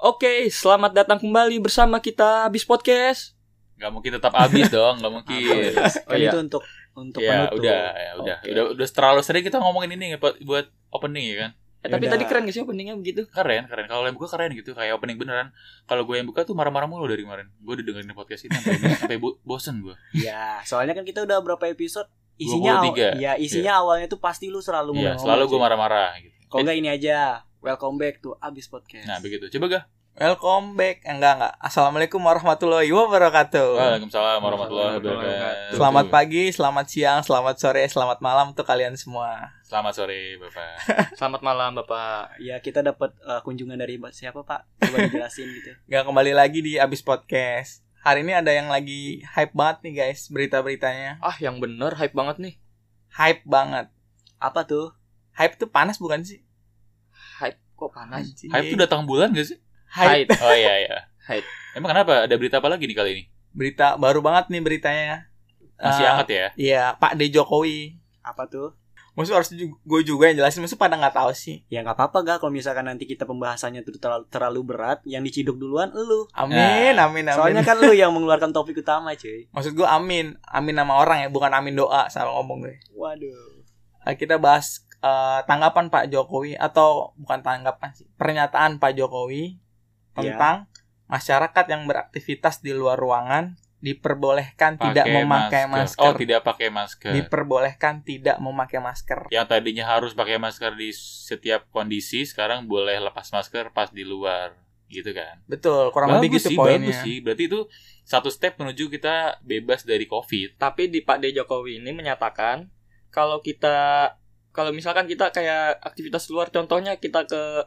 Oke, selamat datang kembali bersama kita habis podcast. Gak mungkin tetap habis dong, gak mungkin. Iya. Oh, Kayak- itu untuk untuk ya, penutup. udah, ya, udah, Oke. udah, udah terlalu sering kita ngomongin ini ya, buat, buat opening ya kan. Eh, tapi Yaudah. tadi keren gak sih openingnya begitu? Keren, keren. Kalau yang buka keren gitu, kayak opening beneran. Kalau gue yang buka tuh marah-marah mulu dari kemarin. Gue udah dengerin podcast ini sampai, sampai bo- bosen gue. Ya, soalnya kan kita udah berapa episode isinya aw- 23. ya isinya awalnya tuh pasti lu selalu Iya, ngomong selalu sih. gue marah-marah gitu. Kalau enggak ini aja, welcome back to Abis Podcast. Nah, begitu. Coba gak? Welcome back. Eh, Enggak enggak. Assalamualaikum warahmatullahi wabarakatuh. Waalaikumsalam warahmatullahi Warahmatullahi wabarakatuh. Selamat pagi, selamat siang, selamat sore, selamat malam untuk kalian semua. Selamat sore, Bapak. Selamat malam, Bapak. ya kita dapat eh, kunjungan dari ba- siapa Pak? Coba dijelasin gitu. Enggak kembali lagi di Abis Podcast. Hari ini ada yang lagi hype banget nih guys, berita-beritanya. Ah, yang bener hype banget nih. Hype banget. Apa tuh? Hype tuh panas bukan sih? Hype kok panas? Anjing. Hype tuh datang bulan gak sih? Hype. Oh iya, iya. Hype. Emang kenapa? Ada berita apa lagi nih kali ini? Berita baru banget nih beritanya. Masih Eh, hangat ya? Iya, Pak D Jokowi. Apa tuh? Maksud harus ju- gue juga yang jelasin, maksud pada nggak tahu sih. Ya nggak apa-apa gak kalau misalkan nanti kita pembahasannya tuh terlalu, terlalu berat, yang diciduk duluan lu. Nah. Amin, amin, Nah, amin. Soalnya kan lu yang mengeluarkan topik utama, cuy. Maksud gue amin, amin nama orang ya, bukan amin doa sama ngomong gue. Waduh. Eh, kita bahas eh, tanggapan Pak Jokowi atau bukan tanggapan sih, pernyataan Pak Jokowi tentang masyarakat yang beraktivitas di luar ruangan diperbolehkan tidak Pakai memakai masker. Oh, tidak pakai masker. Diperbolehkan tidak memakai masker. yang tadinya harus pakai masker di setiap kondisi sekarang boleh lepas masker pas di luar gitu kan Betul, kurang lebih bagus gitu sih poinnya. bagus sih berarti itu satu step menuju kita bebas dari covid tapi di Pak D Jokowi ini menyatakan kalau kita kalau misalkan kita kayak aktivitas luar contohnya kita ke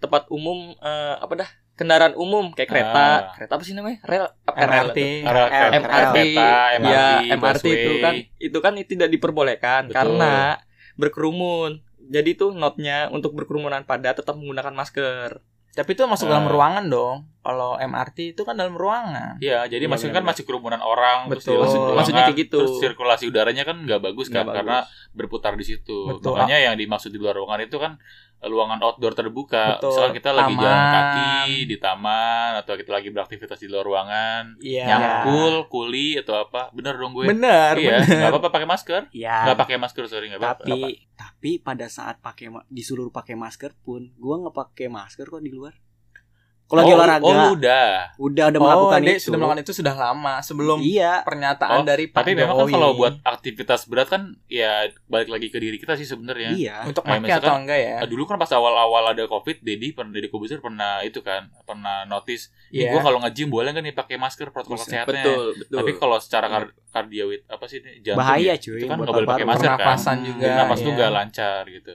tempat umum eh, apa dah kendaraan umum kayak kereta Ah. kereta apa sih namanya rel apa rel MRT. itu? Rel- MRT. MRT kereta, MRT, ya MRT itu busway. kan itu kan tidak diperbolehkan Betul. karena berkerumun jadi tuh notnya untuk berkerumunan padat tetap menggunakan masker Tapi itu masuk dalam Eh. ruangan dong. Kalau MRT itu kan dalam ruangan. Iya, jadi Iya, maksudnya kan benar-benar. masih kerumunan orang Betul. terus di- Maksudnya kayak gitu. Terus sirkulasi udaranya kan nggak bagus Nggak kan bagus. karena berputar di situ. Betul. Makanya yang dimaksud di luar ruangan itu kan ruangan outdoor terbuka. Betul. Misalkan kita lagi Taman. jalan kaki di taman atau kita lagi beraktivitas di luar ruangan, Iya. nyangkul, kuli atau apa. Bener dong gue. Bener, iya, bener. nggak apa-apa pakai masker. Ya. Nggak pakai masker, sorry nggak apa-apa. tapi tapi pada saat pakai ma- disuruh pakai masker pun gua nggak pakai masker kok di luar kalau Oh, lagi olahraga Oh, lu udah. udah udah Oh, melakukan dia itu sudah melakukan itu sudah lama sebelum iya Oh, pernyataan dari Pak Tapi memang kan Jokowi. kalau buat aktivitas berat kan ya balik lagi ke diri kita sih sebenarnya. iya untuk Kayak pakai atau misalkan, enggak ya? Ah, dulu Nah, kan pas awal-awal ada covid, Deddy pernah Deddy Kobuzer pernah itu kan pernah notice. Iya. Gue kalau nge-gym boleh nggak nih pakai masker protokol Bisa. kesehatannya. betul betul Tapi kalau secara kar kardioid apa sih ini, jantung bahaya ya, cuy itu kan buat nggak boleh pakai paru-paru. masker kan. Pernapasan Hmm, juga. Napas iya. tuh nggak lancar gitu.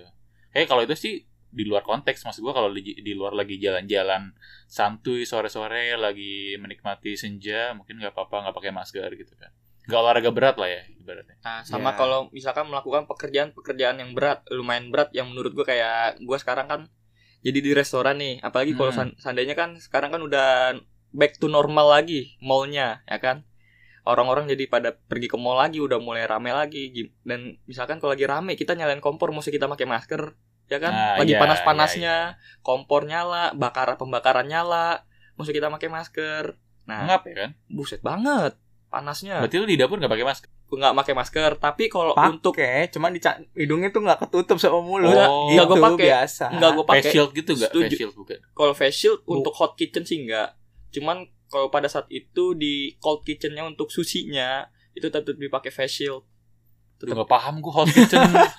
Kayak kalau itu sih di luar konteks maksud gue kalau di, di luar lagi jalan-jalan santuy sore-sore lagi menikmati senja mungkin nggak apa-apa nggak pakai masker gitu kan. Gak olahraga berat lah ya ibaratnya. Nah, sama Ya. kalau misalkan melakukan pekerjaan-pekerjaan yang berat, lumayan berat yang menurut gue kayak gue sekarang kan jadi di restoran nih, apalagi kalau Hmm. san- seandainya kan sekarang kan udah back to normal lagi mallnya, ya kan? Orang-orang jadi pada pergi ke mall lagi, udah mulai rame lagi Gim- dan misalkan kalau lagi rame kita nyalain kompor, mesti kita pakai masker, ya kan? Nah, lagi iya, panas-panasnya, kompor nyala, bakar pembakaran nyala, mesti kita pakai masker. Nah, Ngap ya kan? buset banget panasnya. Berarti lu di dapur nggak pakai masker. Gue nggak pakai masker, tapi kalau Pakai, untuk cuman di hidungnya tuh nggak ketutup sama mulut. Nggak, nggak gitu gua pakai. biasa. Enggak gue Oh, Face iya, pakai. shield gitu gak? Setuju. Face shield bukan. Kalau face shield untuk hot kitchen sih enggak. Cuman kalau pada saat itu di cold kitchennya untuk susinya itu tetap dipakai face shield. Lu gak paham gue hot kitchen. Eh,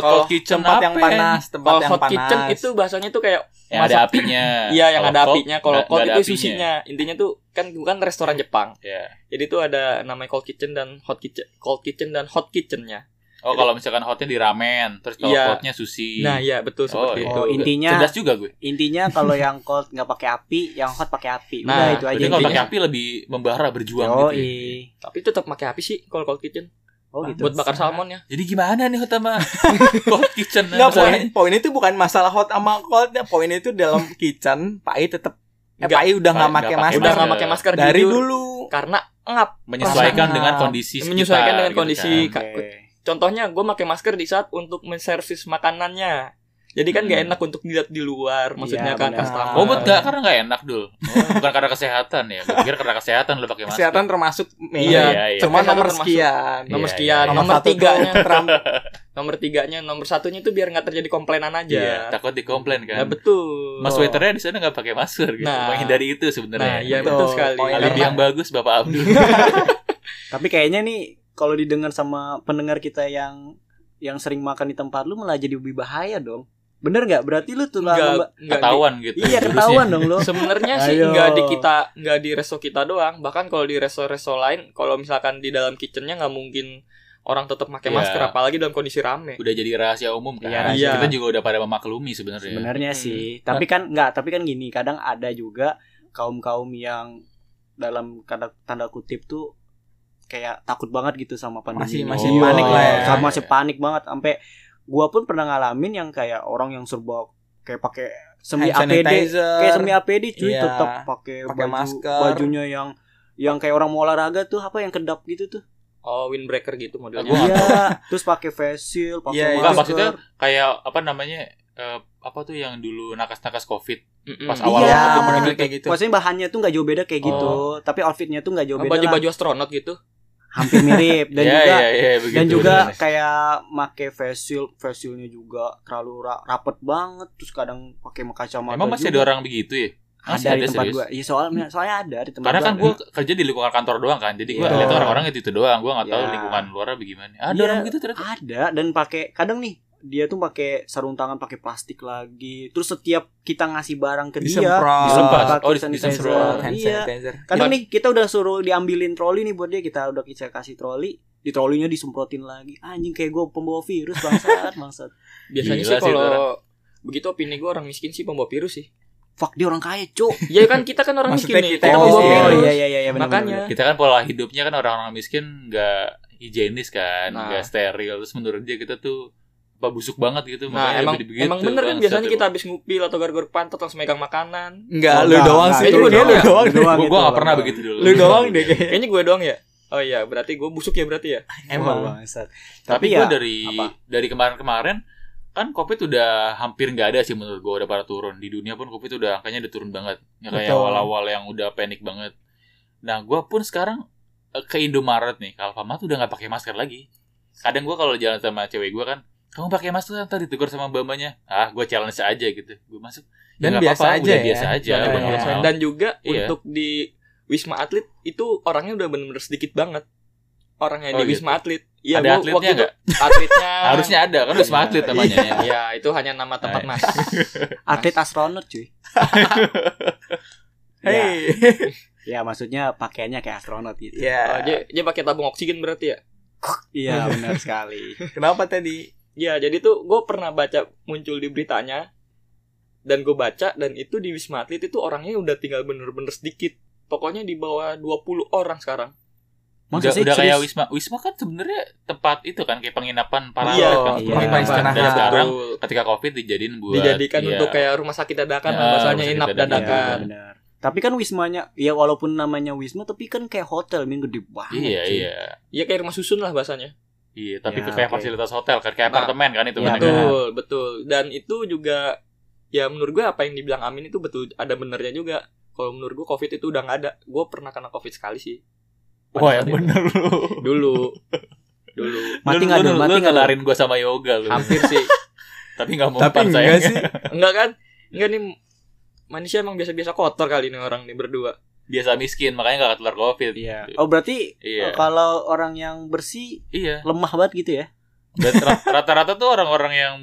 Kalau hot kitchen apa tempat yang panas, tempat Kalau yang hot panas. kitchen itu bahasanya tuh kayak Yang ada Masak. apinya. iya yang Eh, Kalau ada cold, apinya. Kalau nggak- cold nggak ada itu apinya. susinya. Intinya tuh kan bukan restoran Jepang. Iya. Jadi tuh ada namanya cold kitchen dan hot kitchen, cold kitchen dan hot kitchennya. Oh kalau misalkan hotnya di ramen, terus kalau Iya. hotnya sushi. Nah iya betul seperti iya. itu. oh intinya Cerdas juga gue. intinya kalau yang cold nggak pakai api yang hot pakai api Nah, udah itu aja Berarti kalau pakai intinya api lebih membara berjuang oh gitu. ya. Tapi tetap pakai api sih kalau cold kitchen oh gitu buat bakar ya. salmonnya. Jadi gimana nih utama hot kitchen? Nggak, poin, masalahnya? poin itu bukan masalah hot sama coldnya. Poin itu dalam kitchen, Pak I tetap eh, Nggak, Pak I udah Pak nggak I pakai nggak pakai masker ya. Udah nggak masker. pakai masker dari jujur. dulu. karena ngap menyesuaikan Pasangan. dengan kondisi sekitar, Menyesuaikan dengan gitu kondisi. kan. Oke. Contohnya gue pakai masker di saat untuk menservis makanannya. Jadi kan nggak Hmm. enak untuk dilihat di luar, maksudnya Iya, kan benar. customer. Oh, bet nggak karena nggak enak dul. Oh, bukan karena kesehatan ya. Gue pikir karena kesehatan lo pakai masker. Kesehatan termasuk Iya, Iya, iya. Cuma Kesehatan nomor termasuk. sekian. Nomor Iya, sekian, iya. nomor satu tiganya, tuh Trump. nomor tiganya, nomor satunya itu biar nggak terjadi komplainan aja. Iya, takut dikomplain Nah kan. betul. Mas waiternya di sana nggak pakai masker gitu. Nah. Menghindari itu Nah, sebenarnya. iya Betul. betul sekali. Poin Alibi Karena Iya, yang bagus Bapak Iya. Abdul. Tapi kayaknya nih kalau didengar sama pendengar kita yang yang sering makan di tempat lu malah jadi lebih bahaya dong. Bener nggak? Berarti lu tuh lah nggak lomba- nggak di- Ketahuan gitu. Iya jurusnya. ketahuan dong lo. Sebenarnya sih Ayo. nggak di kita nggak di resto kita doang. Bahkan kalau di resto-resto lain, kalau misalkan di dalam kitchennya nggak mungkin orang tetap pakai Iya. masker, apalagi dalam kondisi rame. Udah jadi rahasia umum kan. Iya, rahasia. Kita juga udah pada memaklumi sebenarnya. Sebenarnya Hmm. sih, tapi kan nggak, tapi kan gini, kadang ada juga kaum-kaum yang dalam tanda, tanda kutip tuh kayak takut banget gitu sama pandemi. Masih- ini. masih Iya, panik lah ya. sama- masih panik banget sampai gua pun pernah ngalamin yang kayak orang yang serba kayak pakai semi Hand APD, sanitizer. kayak semi APD cuy Iya. tetap pakai Pakai baju- masker. bajunya yang yang kayak orang mau olahraga tuh apa yang kedap gitu tuh. Oh, windbreaker gitu modelnya. Gua nggak Iya, terus pakai face shield, pakai Iya, iya. masker. Nggak, maksudnya Kayak apa namanya? eh, apa tuh yang dulu nakas-nakas covid Mm-mm. pas awal Iya, Iya, bener-bener bener-bener kayak gitu. Maksudnya bahannya tuh nggak jauh beda kayak Oh. gitu, tapi outfitnya tuh nggak jauh beda lah. Baju-baju astronot gitu. hampir mirip dan Iya, juga iya, iya, begitu, dan juga bener-bener. kayak make face shield, face shieldnya juga terlalu ra- rapet banget, terus kadang pakai kacamata. Emang masih ada juga. orang begitu ya? Masih ada di tempat serius? Hmm. gua. Iya soalnya soalnya ada di tempat Karena kan gua. gue kerja di lingkungan kantor doang kan, jadi gue Iya. lihat orang-orang itu itu doang, gue nggak tahu Iya. lingkungan luarnya bagaimana. Ada Iya. orang begitu ternyata. ada dan pakai kadang nih dia tuh pakai sarung tangan pakai plastik lagi. Terus setiap kita ngasih barang ke Disemprot. dia, disemprot Oh, pakai di- sanitizer. disemprot. Hand Iya. sanitizer. Kadang nih kita udah suruh diambilin troli nih buat dia, kita udah kita kasih troli, di trolinya disemprotin lagi. Anjing kayak gue pembawa virus bangsat, bangsat. Biasanya Gila sih sih itu orang. kalau begitu opini gue orang miskin sih pembawa virus sih. Fuck dia orang kaya, cuk. Ya kan kita kan orang miskin Maksudnya nih. kita Kita yang pembawa miskin. virus. iya iya iya, iya bener, Makanya. bener, Kita kan pola hidupnya kan orang-orang miskin nggak higienis kan, Nah. nggak steril. Terus menurut dia kita tuh apa busuk banget gitu. Nah, makanya emang jadi begitu, emang bener kan bangsat, biasanya emang. kita habis ngupil atau garuk-garuk pantat langsung megang makanan. Enggak, Oh, lu enggak, doang enggak. sih. Itu Lu lu doang, Iya. lu doang. doang. Lu doang Gue gitu, nggak pernah Bang. begitu dulu. Lu doang deh kayaknya. Iya. Kayaknya gue doang ya? Oh iya, berarti gue busuk ya berarti ya. Emang. Wah, bangsat. Tapi, Tapi, gue ya dari apa? dari kemarin-kemarin kan covid udah hampir nggak ada sih menurut gue udah pada turun di dunia pun covid udah angkanya udah turun banget nggak kayak Betul. awal-awal yang udah panik banget nah gue pun sekarang eh, ke Indomaret nih kalau Alfamart udah nggak pakai masker lagi kadang gue kalau jalan sama cewek gue kan kamu pakai masker ntar ditegur sama bambanya ah gue challenge aja gitu gue masuk Dan nggak biasa apa-apa, aja udah ya. biasa aja Iya, udah iya. biasa. Dan Dan juga Iya. untuk di Wisma Atlet itu orangnya udah bener-bener sedikit banget. Orangnya Oh, di gitu. Wisma Atlet. Iya, Ada gua atletnya waktu itu- nggak? Atletnya harusnya ada kan harus atlet namanya Iya, Iya, itu hanya nama tempat Nah, mas. atlet astronot cuy. ya, Hei. ya, maksudnya pakaiannya kayak astronot gitu. Iya. Oh, dia, dia pakai tabung oksigen berarti ya? Iya, benar sekali. Kenapa tadi? Iya, jadi tuh gue pernah baca muncul di beritanya dan gue baca dan itu di Wisma Atlet itu orangnya udah tinggal bener-bener sedikit. Pokoknya di bawah 20 orang sekarang. udah, Maksudnya udah kayak serius? wisma wisma kan sebenarnya tempat itu kan kayak penginapan para Iya, atlet kan. iya. Penginapan. Penginapan Dan istirahat. sekarang Betul. ketika covid dijadiin buat dijadikan iya. untuk kayak rumah sakit dadakan lah, Ya, bahasanya rumah sakit inap dadakan. dadakan. Iya, benar. Tapi kan wismanya ya walaupun namanya wisma tapi kan kayak hotel minggu gede banget. iya cuy. iya Iya kayak rumah susun lah bahasanya. iya tapi Ya, kayak oke. fasilitas hotel kan kayak Nah, apartemen kan itu iya, kan betul. Betul, betul. Dan itu juga ya menurut gue apa yang dibilang Amin itu betul ada benernya juga. Kalau menurut gue Covid itu udah nggak ada. Gue pernah kena Covid sekali sih. wah yang Pada saat bener lu itu. Dulu. Dulu. Mati Lu- nggak lu- dong, lu- mati lu nggak ngelarin gue sama yoga lu Hampir sih. tapi nggak mau ya. Tapi empan enggak sayangnya. sih. Enggak kan? Enggak nih manusia emang biasa-biasa kotor kali nih orang nih berdua. biasa miskin makanya nggak ketular covid Iya. Oh berarti Iya. eh, kalau orang yang bersih iya lemah banget gitu ya? dan ra- rata-rata tuh orang-orang yang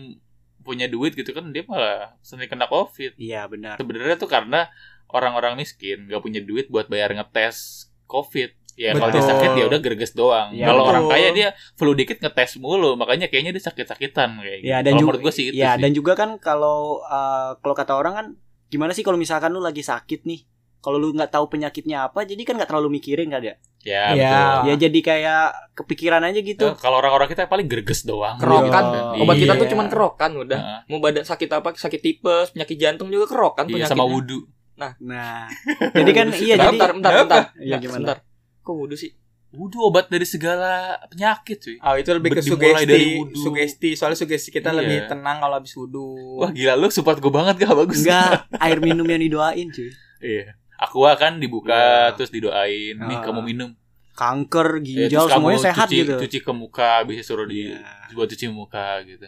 punya duit gitu kan dia malah sering kena covid Iya benar. sebenarnya tuh karena orang-orang miskin nggak punya duit buat bayar ngetes covid ya kalau dia Betul. sakit ya udah gerges doang Iya, kalau betul. orang kaya dia flu dikit ngetes mulu makanya kayaknya dia sakit-sakitan kayak gitu. Ya dan kalau juga menurut gue sih itu ya sih. dan juga kan kalau eh, kalau kata orang kan gimana sih kalau misalkan lu lagi sakit nih kalau lu nggak tahu penyakitnya apa jadi kan nggak terlalu mikirin kan ya ya, Ya. betul. ya jadi kayak kepikiran aja Ya, gitu kalau orang-orang kita paling gerges doang Kerokan. Iya. Obat kita tuh Iya. cuman kerokan udah. Heeh. Mau badan sakit apa? Sakit tipes, penyakit jantung juga kerokan Iya, penyakitnya. ya. sama wudu nah jadi kan Bentar, iya jadi kan, bentar, bentar, bentar. Iya, Nah, gimana? Sebentar. Kok wudu sih? Wudhu obat dari segala penyakit cuy. Oh, itu lebih ke Dimulai dari sugesti, wudhu. sugesti. Soalnya sugesti kita Iya. lebih tenang kalau habis wudhu. Wah gila lu support gue banget gak bagus. Enggak, air minum yang didoain cuy. Iya. Aqua kan dibuka Iya. terus didoain nih Ah. kamu minum. Kanker, Eh, ginjal, terus kamu semuanya sehat cuci, gitu. Cuci ke muka bisa suruh di Iya. buat cuci muka gitu.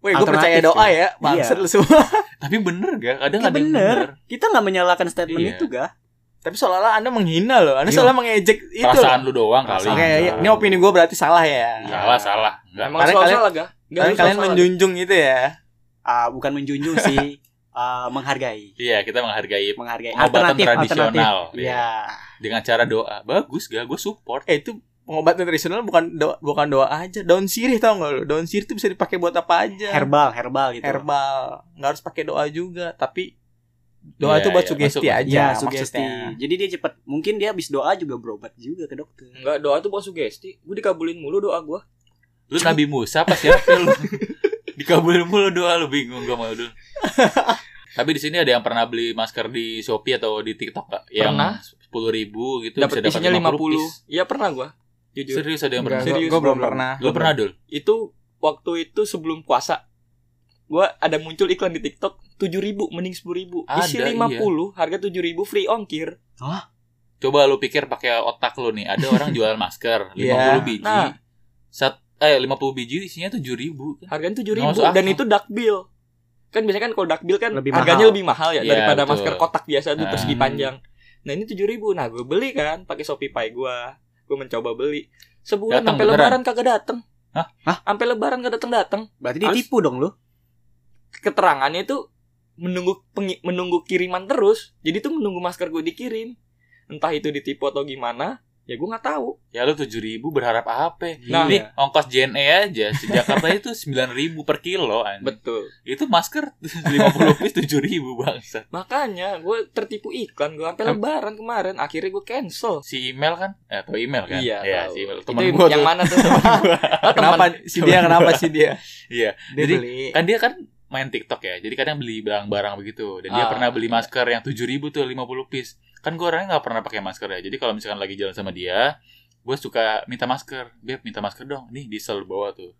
Wih, gue percaya Alternatif, doa cuy. ya, bangsat Iya. lu semua. Tapi bener gak? Kadang Ya, ada yang bener. bener. Kita nggak menyalahkan statement Iya. itu gak? Tapi seolah-olah Anda menghina loh. Anda Iya. seolah mengejek itu. Perasaan loh. lu doang kali. Oke, iya. ini opini gue berarti salah ya. Iya. Salah salah. Enggak. Emang Karena selalu kalian- salah gak? Gak Kalian, kalian menjunjung gitu ya. Ah, bukan menjunjung sih, ah, menghargai, Iya kita menghargai menghargai. pengobatan Alternatif, alternatif. tradisional Iya. dengan cara doa. Bagus gak? Gue support. Eh itu pengobat nutrisional bukan doa, bukan doa aja. Daun sirih tau gak lu? Daun sirih itu bisa dipakai buat apa aja. Herbal, herbal gitu. Herbal. Nggak harus pakai doa juga, tapi doa Iya, itu buat iya, sugesti masuk, aja ya, sugesti. maksudnya. Jadi dia cepat. Mungkin dia habis doa juga berobat juga ke dokter. Enggak doa tuh bukan sugesti Gue dikabulin mulu doa gue Lu Nabi Musa apa siapa lu? Dikabulin mulu doa lu bingung gak mau dulu. Tapi di sini ada yang pernah beli masker di Shopee atau di TikTok gak? Yang Pernah. sepuluh ribu gitu Dapat bisa isinya dapat 50 50 piece. Iya pernah gue Jujur Serius ada yang pernah? Enggak, Gue belum pernah. Lu pernah dul? Itu waktu itu sebelum puasa Gue ada muncul iklan di tiktok 7 ribu mending 10 ribu Isi Ada, iya. 50 harga 7 ribu free ongkir Coba lu pikir pakai otak lu nih. Ada orang jualan masker 50 Iya. biji. Nah. Sat, eh 50 biji isinya 7000 ribu. kan. Harganya 7 ribu Nggak masuk Dan akal. itu dark bill Kan biasanya kan kalau dark bill kan Lebih harganya mahal. lebih mahal ya Iya, Daripada betul. masker kotak biasa tuh Ah. persegi panjang Nah ini 7 ribu Nah gue beli kan pakai Shopee Pay gue Gue mencoba beli Sebulan Datang sampai beneran? lebaran kagak dateng Hah? Sampai lebaran kagak dateng-dateng Berarti Harus- ditipu dong lu. keterangannya itu menunggu pengi- menunggu kiriman terus jadi tuh menunggu masker gue dikirim entah itu ditipu atau gimana ya gue nggak tahu Ya lu 7000 ribu berharap apa? Nah, Nih ongkos JNE aja Sejakarta itu 9000 ribu per kilo anjing. betul Itu masker 50 piece 7000 ribu bangsa makanya gue tertipu iklan gue sampai Em- lebaran kemarin akhirnya gue cancel Si email kan? Eh, tau email kan? Iya, Iya, tahu. si email Itu teman gua yang tuh. mana tuh teman gua? Oh, teman. Kenapa si dia kenapa si dia? Iya. Dia Jadi, beli. Kan dia kan main TikTok ya. Jadi kadang beli barang-barang begitu. Dan Ah, dia pernah beli iya. masker yang 7000 ribu tuh 50 piece. Kan gue orangnya nggak pernah pakai masker ya. Jadi kalau misalkan lagi jalan sama dia, gue suka minta masker. Beb, minta masker dong. Nih, diesel bawa tuh.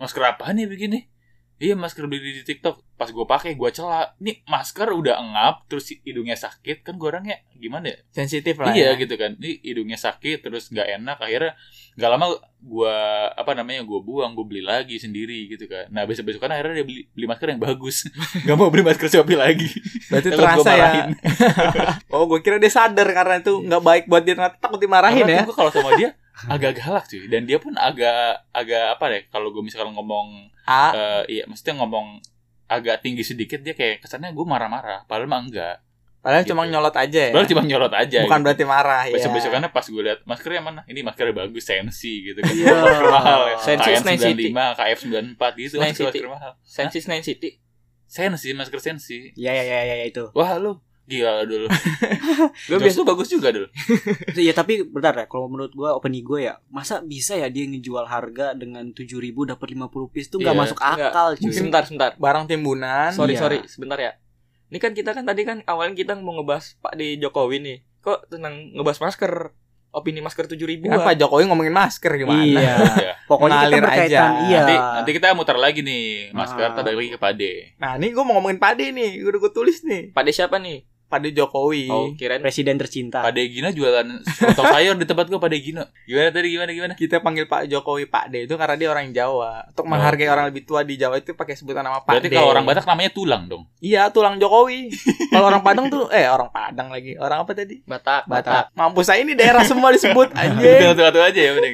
Masker apa nih begini? Iya masker beli di TikTok Pas gue pakai gue celah Nih masker udah engap Terus hidungnya sakit Kan gue orangnya gimana ya sensitif lah. iya ya. gitu kan ini hidungnya sakit terus nggak enak akhirnya nggak lama gua apa namanya gua buang gua beli lagi sendiri gitu kan nah besok besok kan akhirnya dia beli, beli masker yang bagus nggak mau beli masker shopee lagi Berarti Takut gua terasa ya. marahin. oh, gue kira dia sadar karena itu nggak baik buat dia ternyata takut dimarahin Karena ya. tuh gua kalau sama dia agak galak cuy dan dia pun agak agak apa deh kalau gua misalkan ngomong Ah, eh, iya maksudnya ngomong agak tinggi sedikit dia kayak kesannya gua marah-marah padahal mah enggak padahal gitu. cuma nyolot aja ya. padahal cuma nyorot aja Bukan gitu. berarti marah ya. besok besokannya pas gue lihat maskernya mana ini maskernya bagus sensi gitu kan Iya. masker mahal ya Sensi, KF Sensi. 95 KF 94 gitu Sensi. masker masker mahal sensi Nine city sensi masker sensi Ya ya ya ya, ya, itu. wah lu gila lu dulu gue Jokes biasa lu bagus juga dulu Iya tapi bentar ya kalau menurut gua opini gue ya masa bisa ya dia ngejual harga dengan 7000 dapat 50 piece tuh nggak Iya. masuk akal cuy. Mungkin- sebentar sebentar Barang timbunan. sorry Iya. sorry sebentar ya ini kan kita kan tadi kan awalnya kita mau ngebahas Pak D Jokowi nih kok tentang ngebahas masker opini masker tujuh ribu Kan Pak Jokowi ngomongin masker gimana? Iya. ya. Pokoknya kita Ngalir aja. berkaitan iya. nanti nanti kita mutar lagi nih masker Ah. tadi lagi ke Pade Nah, ini gue mau ngomongin Pade nih. Udah gue tulis nih. Pak D siapa nih Pade Jokowi. oh kirain Presiden tercinta. Pade Gina jualan soto sayur di tempat gua Pade Gina gimana tadi gimana gimana Kita panggil Pak Jokowi Pak D itu karena dia orang Jawa. Untuk menghargai orang lebih tua di Jawa itu pakai sebutan nama Pak berarti D. kalau orang Batak namanya tulang dong Iya, tulang Jokowi. kalau orang Padang tuh eh orang Padang lagi. Orang apa tadi? Batak Batak. Mampus saya ini daerah semua disebut Udah anjing. satu aja ya udah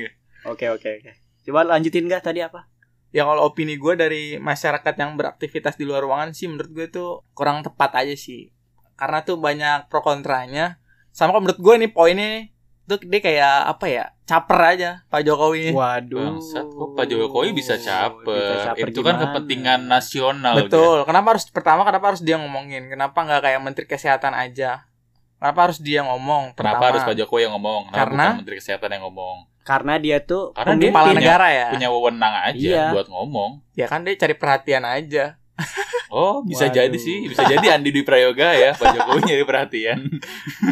Oke oke oke. Coba lanjutin gak tadi apa? ya kalau opini gue dari masyarakat yang beraktivitas di luar ruangan sih menurut gue itu kurang tepat aja sih karena tuh banyak pro kontranya sama kalau menurut gue nih poinnya nih tuh dia kayak apa ya caper aja pak jokowi Waduh. Eh, Bangsat, kok Pak Jokowi bisa Bisa caper. caper Itu kan gimana? kepentingan nasional. dia. betul kenapa harus pertama kenapa harus dia ngomongin kenapa nggak kayak menteri kesehatan aja kenapa harus dia ngomong Kenapa pertama? harus Pak Jokowi yang ngomong? Kenapa Karena- bukan Menteri Kesehatan yang ngomong? Karena dia tuh Karena dia kepala punya- negara ya punya wewenang aja Iya. buat ngomong. ya kan dia cari perhatian aja Oh, bisa Waduh. jadi sih, bisa jadi Andi Dwi Prayoga ya, Pak Jokowi nyari perhatian.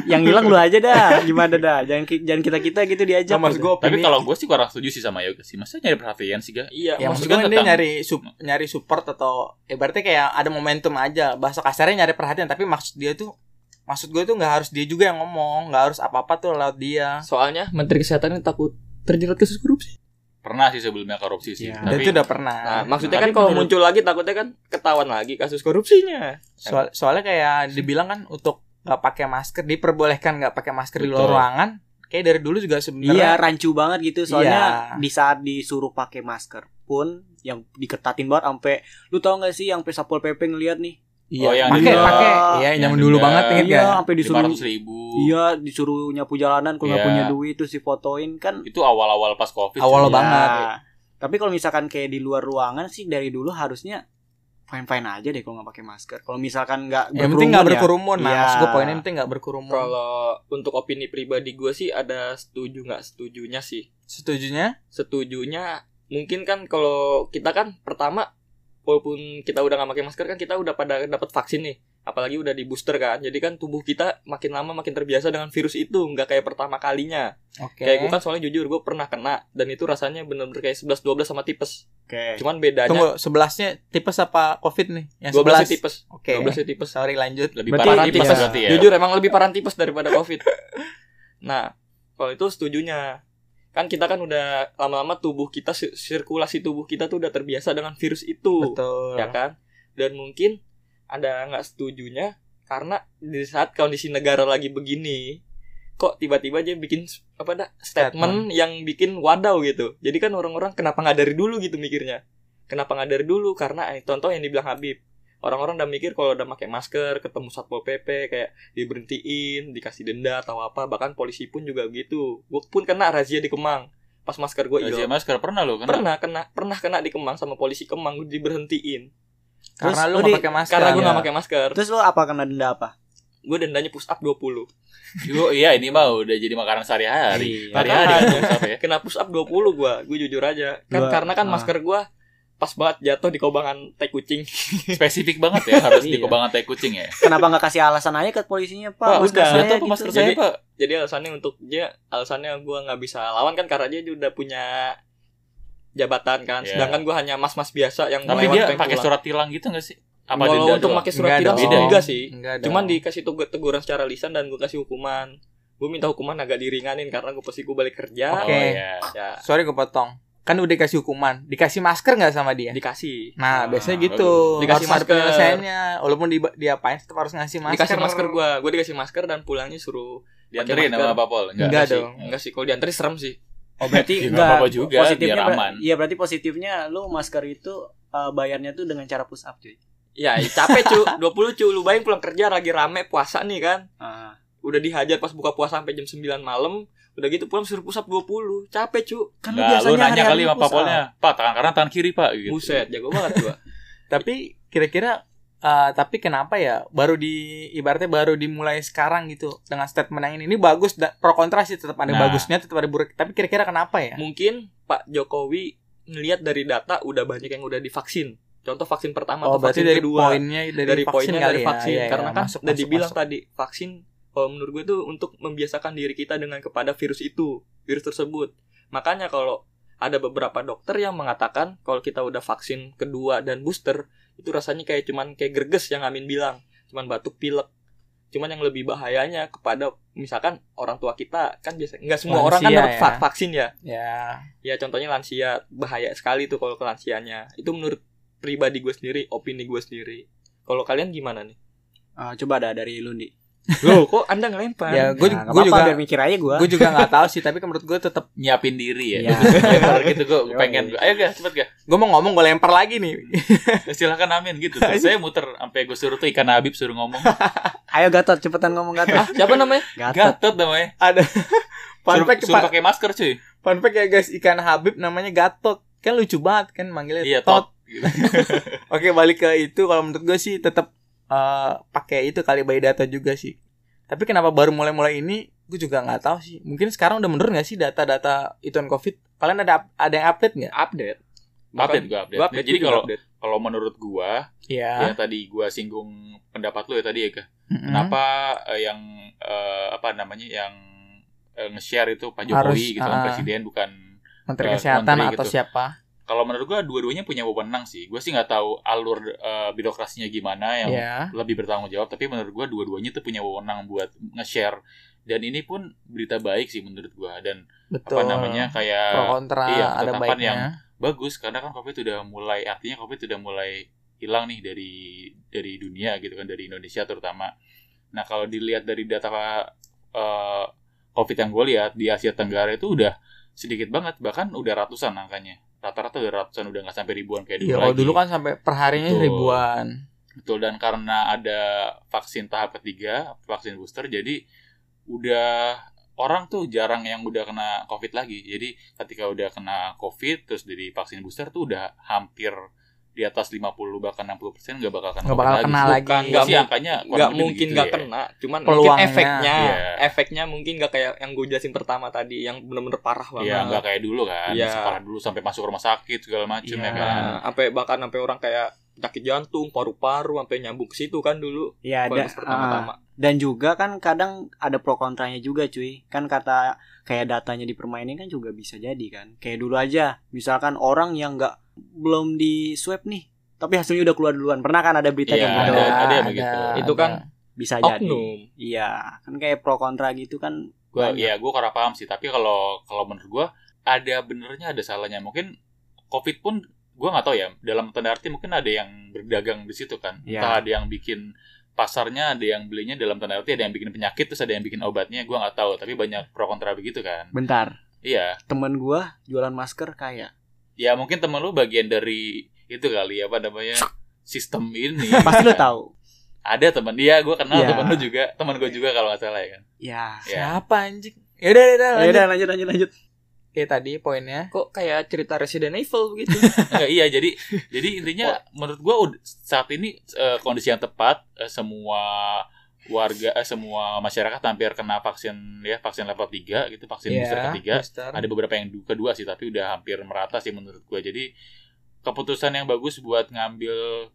Yang hilang lu aja dah. Gimana dah? Jangan ki- jangan kita-kita gitu diajak. Nah, maksud gitu. gue Tapi kalau gue sih kurang setuju sih sama Yoga sih. Masa nyari perhatian sih, Ga? Iya, ya maksud maksud gue kan dia tentang- nyari sup- nyari support atau ya berarti kayak ada momentum aja bahasa kasarnya nyari perhatian tapi maksud dia tuh maksud gue tuh nggak harus dia juga yang ngomong nggak harus apa apa tuh lewat dia soalnya Menteri Kesehatan ini takut terjerat kasus korupsi. Pernah sih sebelumnya korupsi sih. Iya. dan Tapi itu udah pernah Nah, maksudnya kan tapi kalau menurut- muncul lagi takutnya kan ketahuan lagi kasus korupsinya. Soal- soalnya kayak dibilang kan untuk nggak pakai masker diperbolehkan nggak pakai masker di luar Betul. ruangan kayak dari dulu juga Iya, sebenarnya rancu banget gitu. Soalnya Iya. di saat disuruh pakai masker pun yang diketatin banget sampai lu tau gak sih yang Sapol PP ngeliat nih? iya Oh, yang pakai denda. pakai iya Yang zaman dulu denda. banget inget Iya, gak? sampai disuruh 500 ribu. Iya, disuruh nyapu jalanan kalau nggak Iya. punya duit terus difotoin kan Itu awal-awal pas covid. Awal sih. Iya. banget. Tapi kalau misalkan kayak di luar ruangan sih dari dulu harusnya fine fine aja deh kalau nggak pakai masker. Kalau misalkan nggak yang penting nggak ya. berkerumun nah Iya. maksud gue poinnya yang penting nggak berkerumun Kalau untuk opini pribadi gue sih ada setuju nggak setujunya sih. setujunya Setujunya mungkin kan kalau kita kan pertama walaupun kita udah nggak pakai masker kan kita udah pada dapat vaksin nih. Apalagi udah di booster kan. Jadi kan tubuh kita makin lama makin terbiasa dengan virus itu, nggak kayak pertama kalinya. oke Kayak gue kan soalnya jujur gue pernah kena dan itu rasanya bener-bener kayak 11 12 sama tipes. Oke. Cuman bedanya tunggu sebelasnya tipes apa covid nih yang 12 sebelas sih tipes. oke 12 sih tipes. sorry lanjut Lebih Berarti parah nanti tipes pas- berarti ya. Jujur emang lebih parah tipes daripada covid. nah, kalau itu setujunya. Kan kita kan udah lama-lama tubuh kita si- sirkulasi tubuh kita tuh udah terbiasa dengan virus itu, betul ya kan? Dan mungkin ada nggak setujunya karena di saat kondisi negara lagi begini kok tiba-tiba dia bikin s- apa dah statement yang bikin wadaw gitu. Jadi kan orang-orang kenapa nggak dari dulu gitu mikirnya. Kenapa nggak dari dulu? Karena eh, contoh yang dibilang Habib orang-orang udah mikir kalau udah pakai masker ketemu satpol pp kayak diberhentiin dikasih denda atau apa bahkan polisi pun juga gitu gue pun kena razia di Kemang pas masker gue hilang Razia Iya, masker pernah loh kan? pernah kena pernah kena di Kemang sama polisi Kemang gue diberhentiin karena Terus lu lu nggak di- pakai masker oh, karena gue Iya. nggak pakai masker Terus lo apa kena denda apa? gue dendanya push up 20 Yo, iya ini mah udah jadi makanan sehari-hari. Iya. Hari-hari Makanya. push up ya. kena push up 20 gue gue jujur aja kan Gua- karena kan ah. masker gue pas banget jatuh di kobangan tai kucing Spesifik banget ya harus di Iya. kebangan tai kucing ya. Kenapa nggak kasih alasan aja ke polisinya Pak? Pak, Masker udah. saya Jatuh apa gitu." Iya, masker saya, Pak? jadi alasannya untuk dia alasannya gue nggak bisa lawan kan karena dia udah punya jabatan kan Iya. sedangkan gue hanya mas-mas biasa yang Tapi melewat dia pengen pakai pulang. surat tilang gitu gak sih? Apa kalau denda untuk doang? pakai surat Enggak tilang dong. sih enggak sih Enggak dong. cuman dikasih tugu- teguran secara lisan dan gue kasih hukuman gue minta hukuman agak diringanin karena gue pasti gue balik kerja Oh, Oke. iya. ya sorry gue potong kan udah dikasih hukuman dikasih masker nggak sama dia dikasih Ah, nah biasanya bagus. gitu Dikasih harus ada masker. penyelesaiannya walaupun di, diapain tetap harus ngasih masker dikasih masker gue gue dikasih masker dan pulangnya suruh Dianterin masker. sama Pak Pol? enggak, sih. dong enggak sih kalau dianterin serem sih Oh Iya, berarti nggak apa-apa juga, positifnya biar ber- aman. Iya berarti positifnya lu masker itu eh, bayarnya tuh dengan cara push up cuy. ya capek cu 20 cu lu bayangin pulang kerja lagi rame puasa nih kan Ah. udah dihajar pas buka puasa sampai jam 9 malam udah gitu pulang suruh pusap 20 capek cu Kan lu Nah, lu nanya kali hari-hari sama Pak push up. Polnya. Pak, tangan kanan, tangan kiri, Pak. Gitu. buset jago banget gua tapi kira-kira eh, tapi kenapa ya baru di ibaratnya baru dimulai sekarang gitu dengan statement yang ini ini bagus da- pro kontra sih tetap ada Nah. bagusnya tetap ada buruk tapi kira-kira kenapa ya mungkin Pak Jokowi ngelihat dari data udah banyak yang udah divaksin contoh vaksin pertama oh atau berarti vaksin dari kedua poinnya dari, dari vaksin poinnya kali dari ya. vaksin Iya, iya, karena kan masuk, udah masuk, dibilang masuk. tadi vaksin kalau menurut gue tuh untuk membiasakan diri kita dengan kepada virus itu virus tersebut makanya kalau ada beberapa dokter yang mengatakan kalau kita udah vaksin kedua dan booster itu rasanya kayak cuman kayak gerges yang Amin bilang cuman batuk pilek cuman yang lebih bahayanya kepada misalkan orang tua kita kan biasa nggak semua orang kan Lansia dapat va- ya. vaksin ya ya ya contohnya lansia bahaya sekali tuh kalau ke lansianya itu menurut pribadi gue sendiri opini gue sendiri kalau kalian gimana nih Ah, coba ada dari lu Di. Loh, kok Anda ngelempar? ya gue Nah, nggak juga apa-apa, biar mikir aja gua. gue juga nggak tahu sih tapi menurut gue tetap Nyiapin diri ya. Iya. Kalau gitu gue pengen. Yoi. Ayo, gak? Cepet, gak? gue mau ngomong gue lempar lagi nih Silahkan amin gitu. Terus saya muter. Sampai gue suruh tuh ikan Habib suruh ngomong. Ayo Gatot cepetan ngomong Gatot. Siapa namanya? Gatot. Gatot namanya. fun Suruh, fact suruh fun- pakai masker, cuy. fun fact ya guys ikan Habib namanya Gatot kan lucu banget kan manggilnya Iya, tot. Tot Gitu. Oke balik ke itu kalau menurut gue sih tetap eh, pakai itu kali by data juga sih. Tapi kenapa baru mulai-mulai ini gue juga nggak tahu sih. Mungkin sekarang udah menurun nggak sih data-data ituan covid? Kalian ada up- ada yang update nggak? Update. Update gue, update. Gua update. Jadi juga kalau update. kalau menurut gua Iya. yang tadi gua singgung pendapat lu ya tadi ya Kak. Hmm. Mm-mm. Kenapa eh, yang eh, apa namanya yang eh, nge-share itu Pak Harus, Jokowi gitu kan ah. presiden bukan Menteri eh, Kesehatan menteri atau gitu. siapa? kalau menurut gua dua-duanya punya wewenang sih. Gua sih nggak tahu alur eh, birokrasinya gimana yang Iya. lebih bertanggung jawab tapi menurut gua dua-duanya tuh punya wewenang buat nge-share dan ini pun berita baik sih menurut gua dan Betul. apa namanya kayak Pro kontra iya, ada ketetapan baiknya. yang- bagus karena kan covid udah mulai artinya covid udah mulai hilang nih dari dari dunia gitu kan dari Indonesia terutama nah kalau dilihat dari data eh, covid yang gue lihat di Asia Tenggara itu udah sedikit banget bahkan udah ratusan angkanya rata-rata udah ratusan udah nggak sampai ribuan kayak dulu Iya, kalau lagi dulu kan sampai perharinya Betul. ribuan. betul dan karena ada vaksin tahap ketiga vaksin booster jadi udah orang tuh jarang yang udah kena covid lagi jadi ketika udah kena covid terus dari vaksin booster tuh udah hampir di atas 50 bahkan 60 persen nggak bakal kena Nggak COVID bakal kena Bukan, lagi. nggak Nggak sih mu- angkanya kurang nggak lebih mungkin begitu nggak ya. kena cuman Peluangnya. mungkin efeknya Iya. efeknya mungkin nggak kayak yang gue jelasin pertama tadi yang bener-bener parah banget Iya, nggak kayak dulu kan Iya. separah dulu sampai masuk rumah sakit segala macem Iya. ya kan Nah, sampai bahkan sampai orang kayak penyakit jantung paru-paru sampai nyambung ke situ kan dulu Iya ada bagus Ah, pertama-tama dan juga kan kadang ada pro kontranya juga cuy kan kata kayak datanya dipermainin kan juga bisa jadi kan kayak dulu aja misalkan orang yang nggak belum di swab nih tapi hasilnya udah keluar duluan pernah kan ada berita Iya, kayak gitu ada- ada yang begitu. Iya. Itu kan bisa jadi oknum iya kan kayak pro kontra gitu kan gua Banyak. ya gue kurang paham sih tapi kalau kalau menurut gue ada benernya ada salahnya mungkin covid pun gue nggak tahu ya dalam tanda arti mungkin ada yang berdagang di situ kan Iya. entah ada yang bikin pasarnya ada yang belinya dalam tanda arti ada yang bikin penyakit terus ada yang bikin obatnya gue nggak tahu tapi banyak pro kontra begitu kan bentar iya temen gua jualan masker kayak ya mungkin temen lu bagian dari itu kali apa namanya sistem ini pasti lo tahu ada temen dia gue kenal Iya. temen lu juga temen gue juga kalau nggak salah ya kan ya Iya. Siapa anjing? Yaudah, ya yaudah, lanjut. udah lanjut lanjut lanjut Oke, tadi poinnya. kok kayak cerita Resident Evil gitu, begitu Enggak, iya jadi jadi intinya menurut gua ud- saat ini eh, kondisi yang tepat eh, semua warga eh, semua masyarakat hampir kena vaksin ya vaksin level 3 gitu vaksin Iya, booster ketiga booster. ada beberapa yang du- kedua sih tapi udah hampir merata sih menurut gua jadi keputusan yang bagus buat ngambil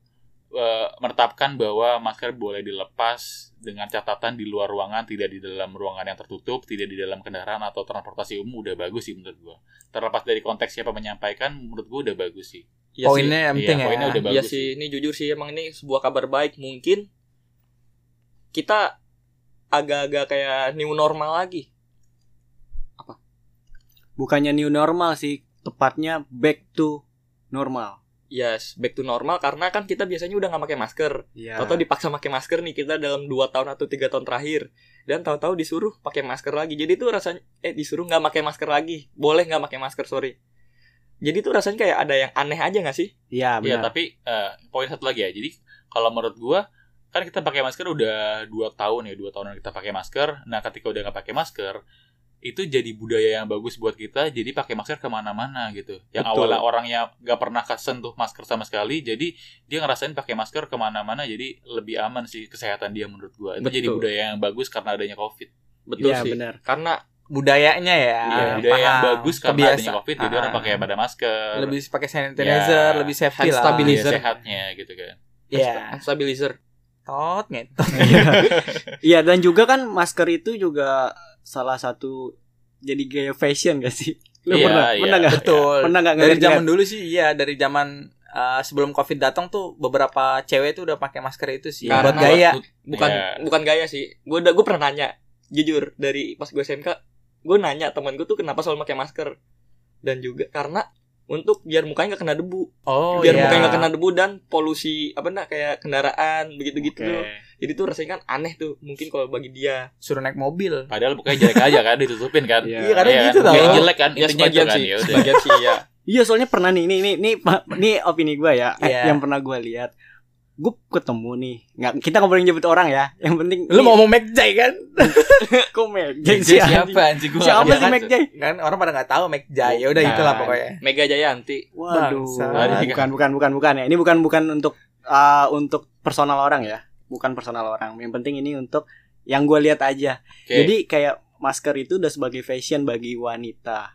eh, menetapkan bahwa masker boleh dilepas dengan catatan di luar ruangan tidak di dalam ruangan yang tertutup tidak di dalam kendaraan atau transportasi umum udah bagus sih menurut gua terlepas dari konteks siapa menyampaikan menurut gua udah bagus sih Iya sih. poinnya yang Iya, penting poinnya ya. udah Iya bagus sih, ini jujur sih emang ini sebuah kabar baik mungkin kita agak-agak kayak new normal lagi. bukannya new normal sih tepatnya back to normal Yes, back to normal karena kan kita biasanya udah nggak pakai masker. ya Tahu-tahu dipaksa pakai masker nih kita dalam 2 tahun atau tiga tahun terakhir dan tahu-tahu disuruh pakai masker lagi. Jadi tuh rasanya eh disuruh nggak pakai masker lagi. Boleh nggak pakai masker, sorry. Jadi tuh rasanya kayak ada yang aneh aja nggak sih? iya Iya, benar tapi eh, poin satu lagi ya. Jadi kalau menurut gua kan kita pakai masker udah dua tahun ya, dua tahunan kita pakai masker. Nah, ketika udah nggak pakai masker, itu jadi budaya yang bagus buat kita. Jadi pakai masker kemana-mana gitu. Yang Betul. awalnya orangnya nggak pernah kesentuh masker sama sekali, jadi dia ngerasain pakai masker kemana-mana. Jadi lebih aman sih kesehatan dia menurut gua. Itu jadi Betul. budaya yang bagus karena adanya covid. Betul iya sih. benar Karena budayanya ya. Iya, budaya yang paham. bagus karena adanya Kebiasa- covid. Jadi orang Ah. pakai eh, pada masker. lebih pakai sanitizer, Ya, lebih hand safety lah. Iya, stabilizer. sehatnya gitu kan. Iya. stabilizer. Tot ngetot. Iya dan juga kan masker itu juga salah satu jadi gaya fashion gak sih? Lu Iya, pernah iya. pernah nggak Betul. pernah nggak dari ngeliat zaman dulu sih iya, dari zaman eh, sebelum Covid datang tuh beberapa cewek tuh udah pakai masker itu sih Karena Iya. buat gaya. Bukan Iya. bukan gaya sih. Gue udah gue pernah nanya jujur dari pas gue SMK, gue nanya temen gue tuh kenapa selalu pakai masker dan juga karena untuk biar mukanya nggak kena debu. Oh biar iya. mukanya nggak kena debu dan polusi apa nah kayak kendaraan begitu-gitu Oke. jadi tuh rasanya kan aneh tuh mungkin kalau bagi dia Suruh naik mobil. Padahal mukanya jelek aja kan ditutupin kan. Iya. Iya, kadang gitu tau. Mukanya jelek kan, ya intinya itu sebagian kan sih ya udah. sebagian sih ya Iya soalnya pernah nih ini ini ini pa- ini opini gue ya eh, Iya. yang pernah gue lihat gue ketemu nih nggak kita ngobrolin nyebut orang ya yang penting Lu mau ngomong McJay kan? kok Jadi Mac siapa anjing gua? siapa nggak sih tahu. Mac Jay? Kan orang pada nggak tahu McJay. Ya udah Bukan. itulah pokoknya. Mega Jayanti Waduh Bangsat. bukan bukan bukan bukan ya ini bukan bukan untuk eh, untuk personal orang ya bukan personal orang yang penting ini untuk yang gue lihat aja Oke. Jadi kayak masker itu udah sebagai fashion bagi wanita.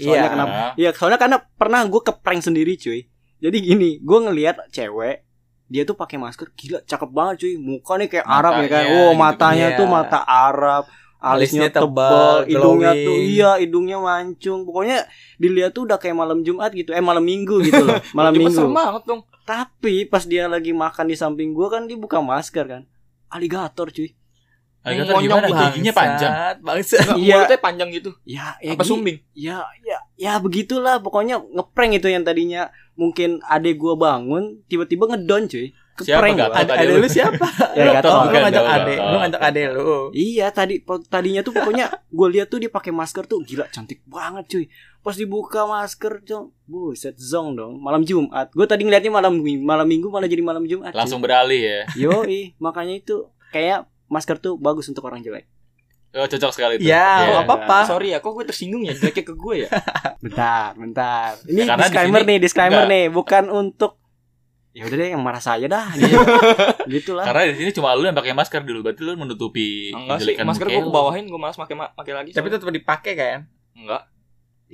Ah, Iya. Iya, Soalnya kenapa? Iya, soalnya karena pernah gue keprank sendiri, cuy. Jadi gini, gue ngelihat cewek dia tuh pakai masker gila cakep banget cuy muka nih kayak Arab ya kan Matanya wow gitu. matanya Iya. tuh mata Arab alisnya Alisnya tebal tebal, hidungnya tuh glowing. iya hidungnya mancung pokoknya dilihat tuh udah kayak malam Jumat gitu eh malam Minggu gitu loh malam Cuma Minggu serem banget dong. tapi pas dia lagi makan di samping gua kan dia buka masker kan. Aligator cuy. Alligator gimana? Giginya panjang. Bangsa. Enggak, Iya. mulutnya panjang gitu. Ya, ya Apa gi- sumbing? Ya, ya, ya begitulah pokoknya ngeprank itu yang tadinya mungkin adek gua bangun tiba-tiba ngedon cuy. Siapa Keprank Gatot? gua. Ade, Tadi ade lu. lu siapa? Ya, Lu- Gatot oh, lu bukan, ngajak Gatot. ade, lu ngajak ade lu. Iya, tadi po- tadinya tuh pokoknya gua lihat tuh dia pakai masker tuh gila cantik banget cuy. Pas dibuka masker tuh buset zong dong. Malam Jumat. Gua tadi ngeliatnya malam Ming- malam Minggu malah jadi malam Jumat. cuy. Langsung beralih ya. Yoi, makanya itu kayak masker tuh bagus untuk orang jelek. Oh, cocok sekali itu. Ya, Iya. nggak apa-apa. Sorry ya, kok gue tersinggung ya jeleknya ke gue ya? Bentar, bentar. Ini karena di disclaimer sini- nih, disclaimer enggak. nih, bukan untuk ya udah deh yang marah saya dah. gitu lah. Karena di sini cuma lu yang pakai masker dulu, berarti lu menutupi Enggak sih, kejelekan masker muka gue lu. kebawahin, gue malas pakai ma- pakai lagi. Tapi soalnya. tetap dipakai kan? enggak.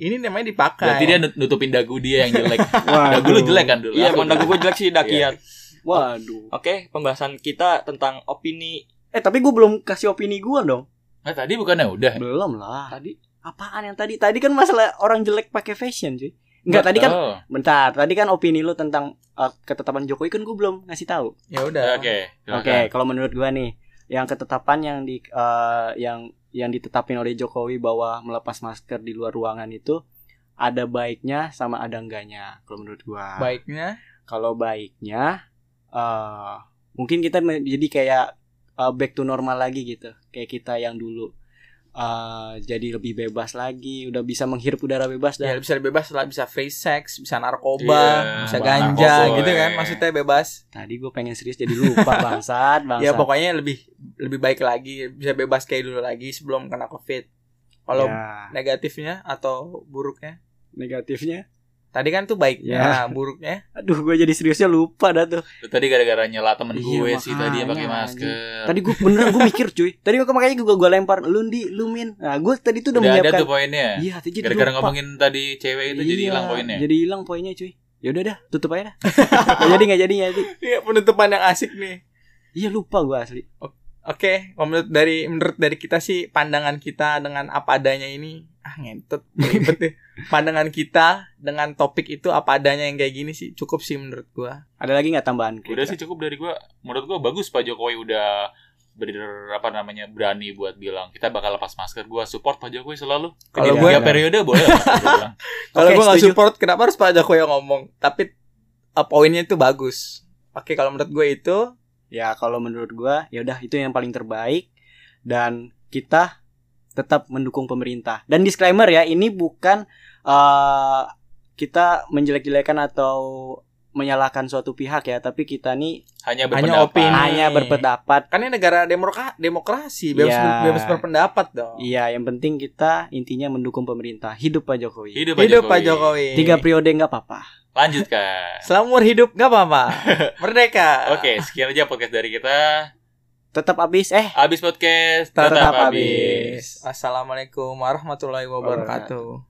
Ini namanya dipakai. Berarti dia nut- nutupin dagu dia yang jelek. Waduh. dagu lu jelek kan dulu. Iya, Aku emang dagu gue jelek sih dakian. Waduh. Oke, pembahasan kita tentang opini Eh tapi gue belum kasih opini gue dong. Nah, tadi bukannya udah. Belum lah. tadi. Apaan yang tadi? Tadi kan masalah orang jelek pakai fashion cuy. Enggak tadi kan Oh, bentar. Tadi kan opini lu tentang eh, ketetapan Jokowi kan gue belum ngasih tahu. Ya udah. Oke. silakan. Oke, kalau menurut gua nih, yang ketetapan yang di eh, yang yang ditetapin oleh Jokowi bahwa melepas masker di luar ruangan itu ada baiknya sama ada enggaknya kalau menurut gua. Baiknya Kalau baiknya eh mungkin kita men- jadi kayak eh, back to normal lagi gitu, kayak kita yang dulu. Eh, jadi lebih bebas lagi, udah bisa menghirup udara bebas ya dan bisa bebas lah, bisa free sex, bisa Iya, narkoba, narkoba, iya. bisa ganja boy. gitu kan. Maksudnya bebas. tadi gue pengen serius jadi lupa bangsat, bangsat. Ya pokoknya lebih lebih baik lagi, bisa bebas kayak dulu lagi sebelum kena Covid. Kalau Ya, negatifnya atau buruknya? negatifnya Tadi kan tuh baiknya, buruknya. Aduh, gue jadi seriusnya lupa dah tuh. Lu tadi gara-gara nyela temen Iya, gue sih tadi yang pakai makanya, masker. Tadi gue beneran gue mikir cuy. Tadi gue makanya gue gue lempar lundi lumin. Nah, gue tadi tuh udah, udah ada menyiapkan. tuh poinnya. Iya, tadi jadi Gara-gara lupa. ngomongin tadi cewek itu jadi Iya, hilang poinnya. Jadi hilang poinnya cuy. Ya udah dah, tutup aja dah. Nggak jadi nggak jadi nggak jadi. Iya, penutupan yang asik nih. Iya lupa gue asli. Oke, kalau menurut dari menurut dari kita sih pandangan kita dengan apa adanya ini ah ngentot ribet deh. Pandangan kita dengan topik itu apa adanya yang kayak gini sih cukup sih menurut gua. Ada lagi nggak tambahan? Udah ya. sih cukup dari gua. Menurut gua bagus Pak Jokowi udah ber apa namanya berani buat bilang kita bakal lepas masker. Gua support Pak Jokowi selalu. Kalau Tiga gua- periode boleh. lah, gua bilang. Kalau Oke, gua nggak setuju. support kenapa harus Pak Jokowi yang ngomong? Tapi eh, poinnya itu bagus. Oke, kalau menurut gue itu Ya kalau menurut gue, ya udah itu yang paling terbaik dan kita tetap mendukung pemerintah. Dan disclaimer ya, ini bukan eh, kita menjelek-jelekan atau menyalahkan suatu pihak ya, tapi kita nih Hanya Hanya berpendapat. opini. hanya berpendapat kan ini negara demokra demokrasi, bebas Iya. bebas berpendapat dong. Iya, yang penting kita intinya mendukung pemerintah. Hidup Pak Jokowi. Hidup Pak Hidup Pak Jokowi. Jokowi. Tiga periode nggak apa-apa. Lanjutkan. Selama umur hidup nggak apa-apa. Merdeka. Oke, sekian aja podcast dari kita. Tetap habis eh. Abis podcast, Tetap tetap, habis. habis. Assalamualaikum warahmatullahi wabarakatuh.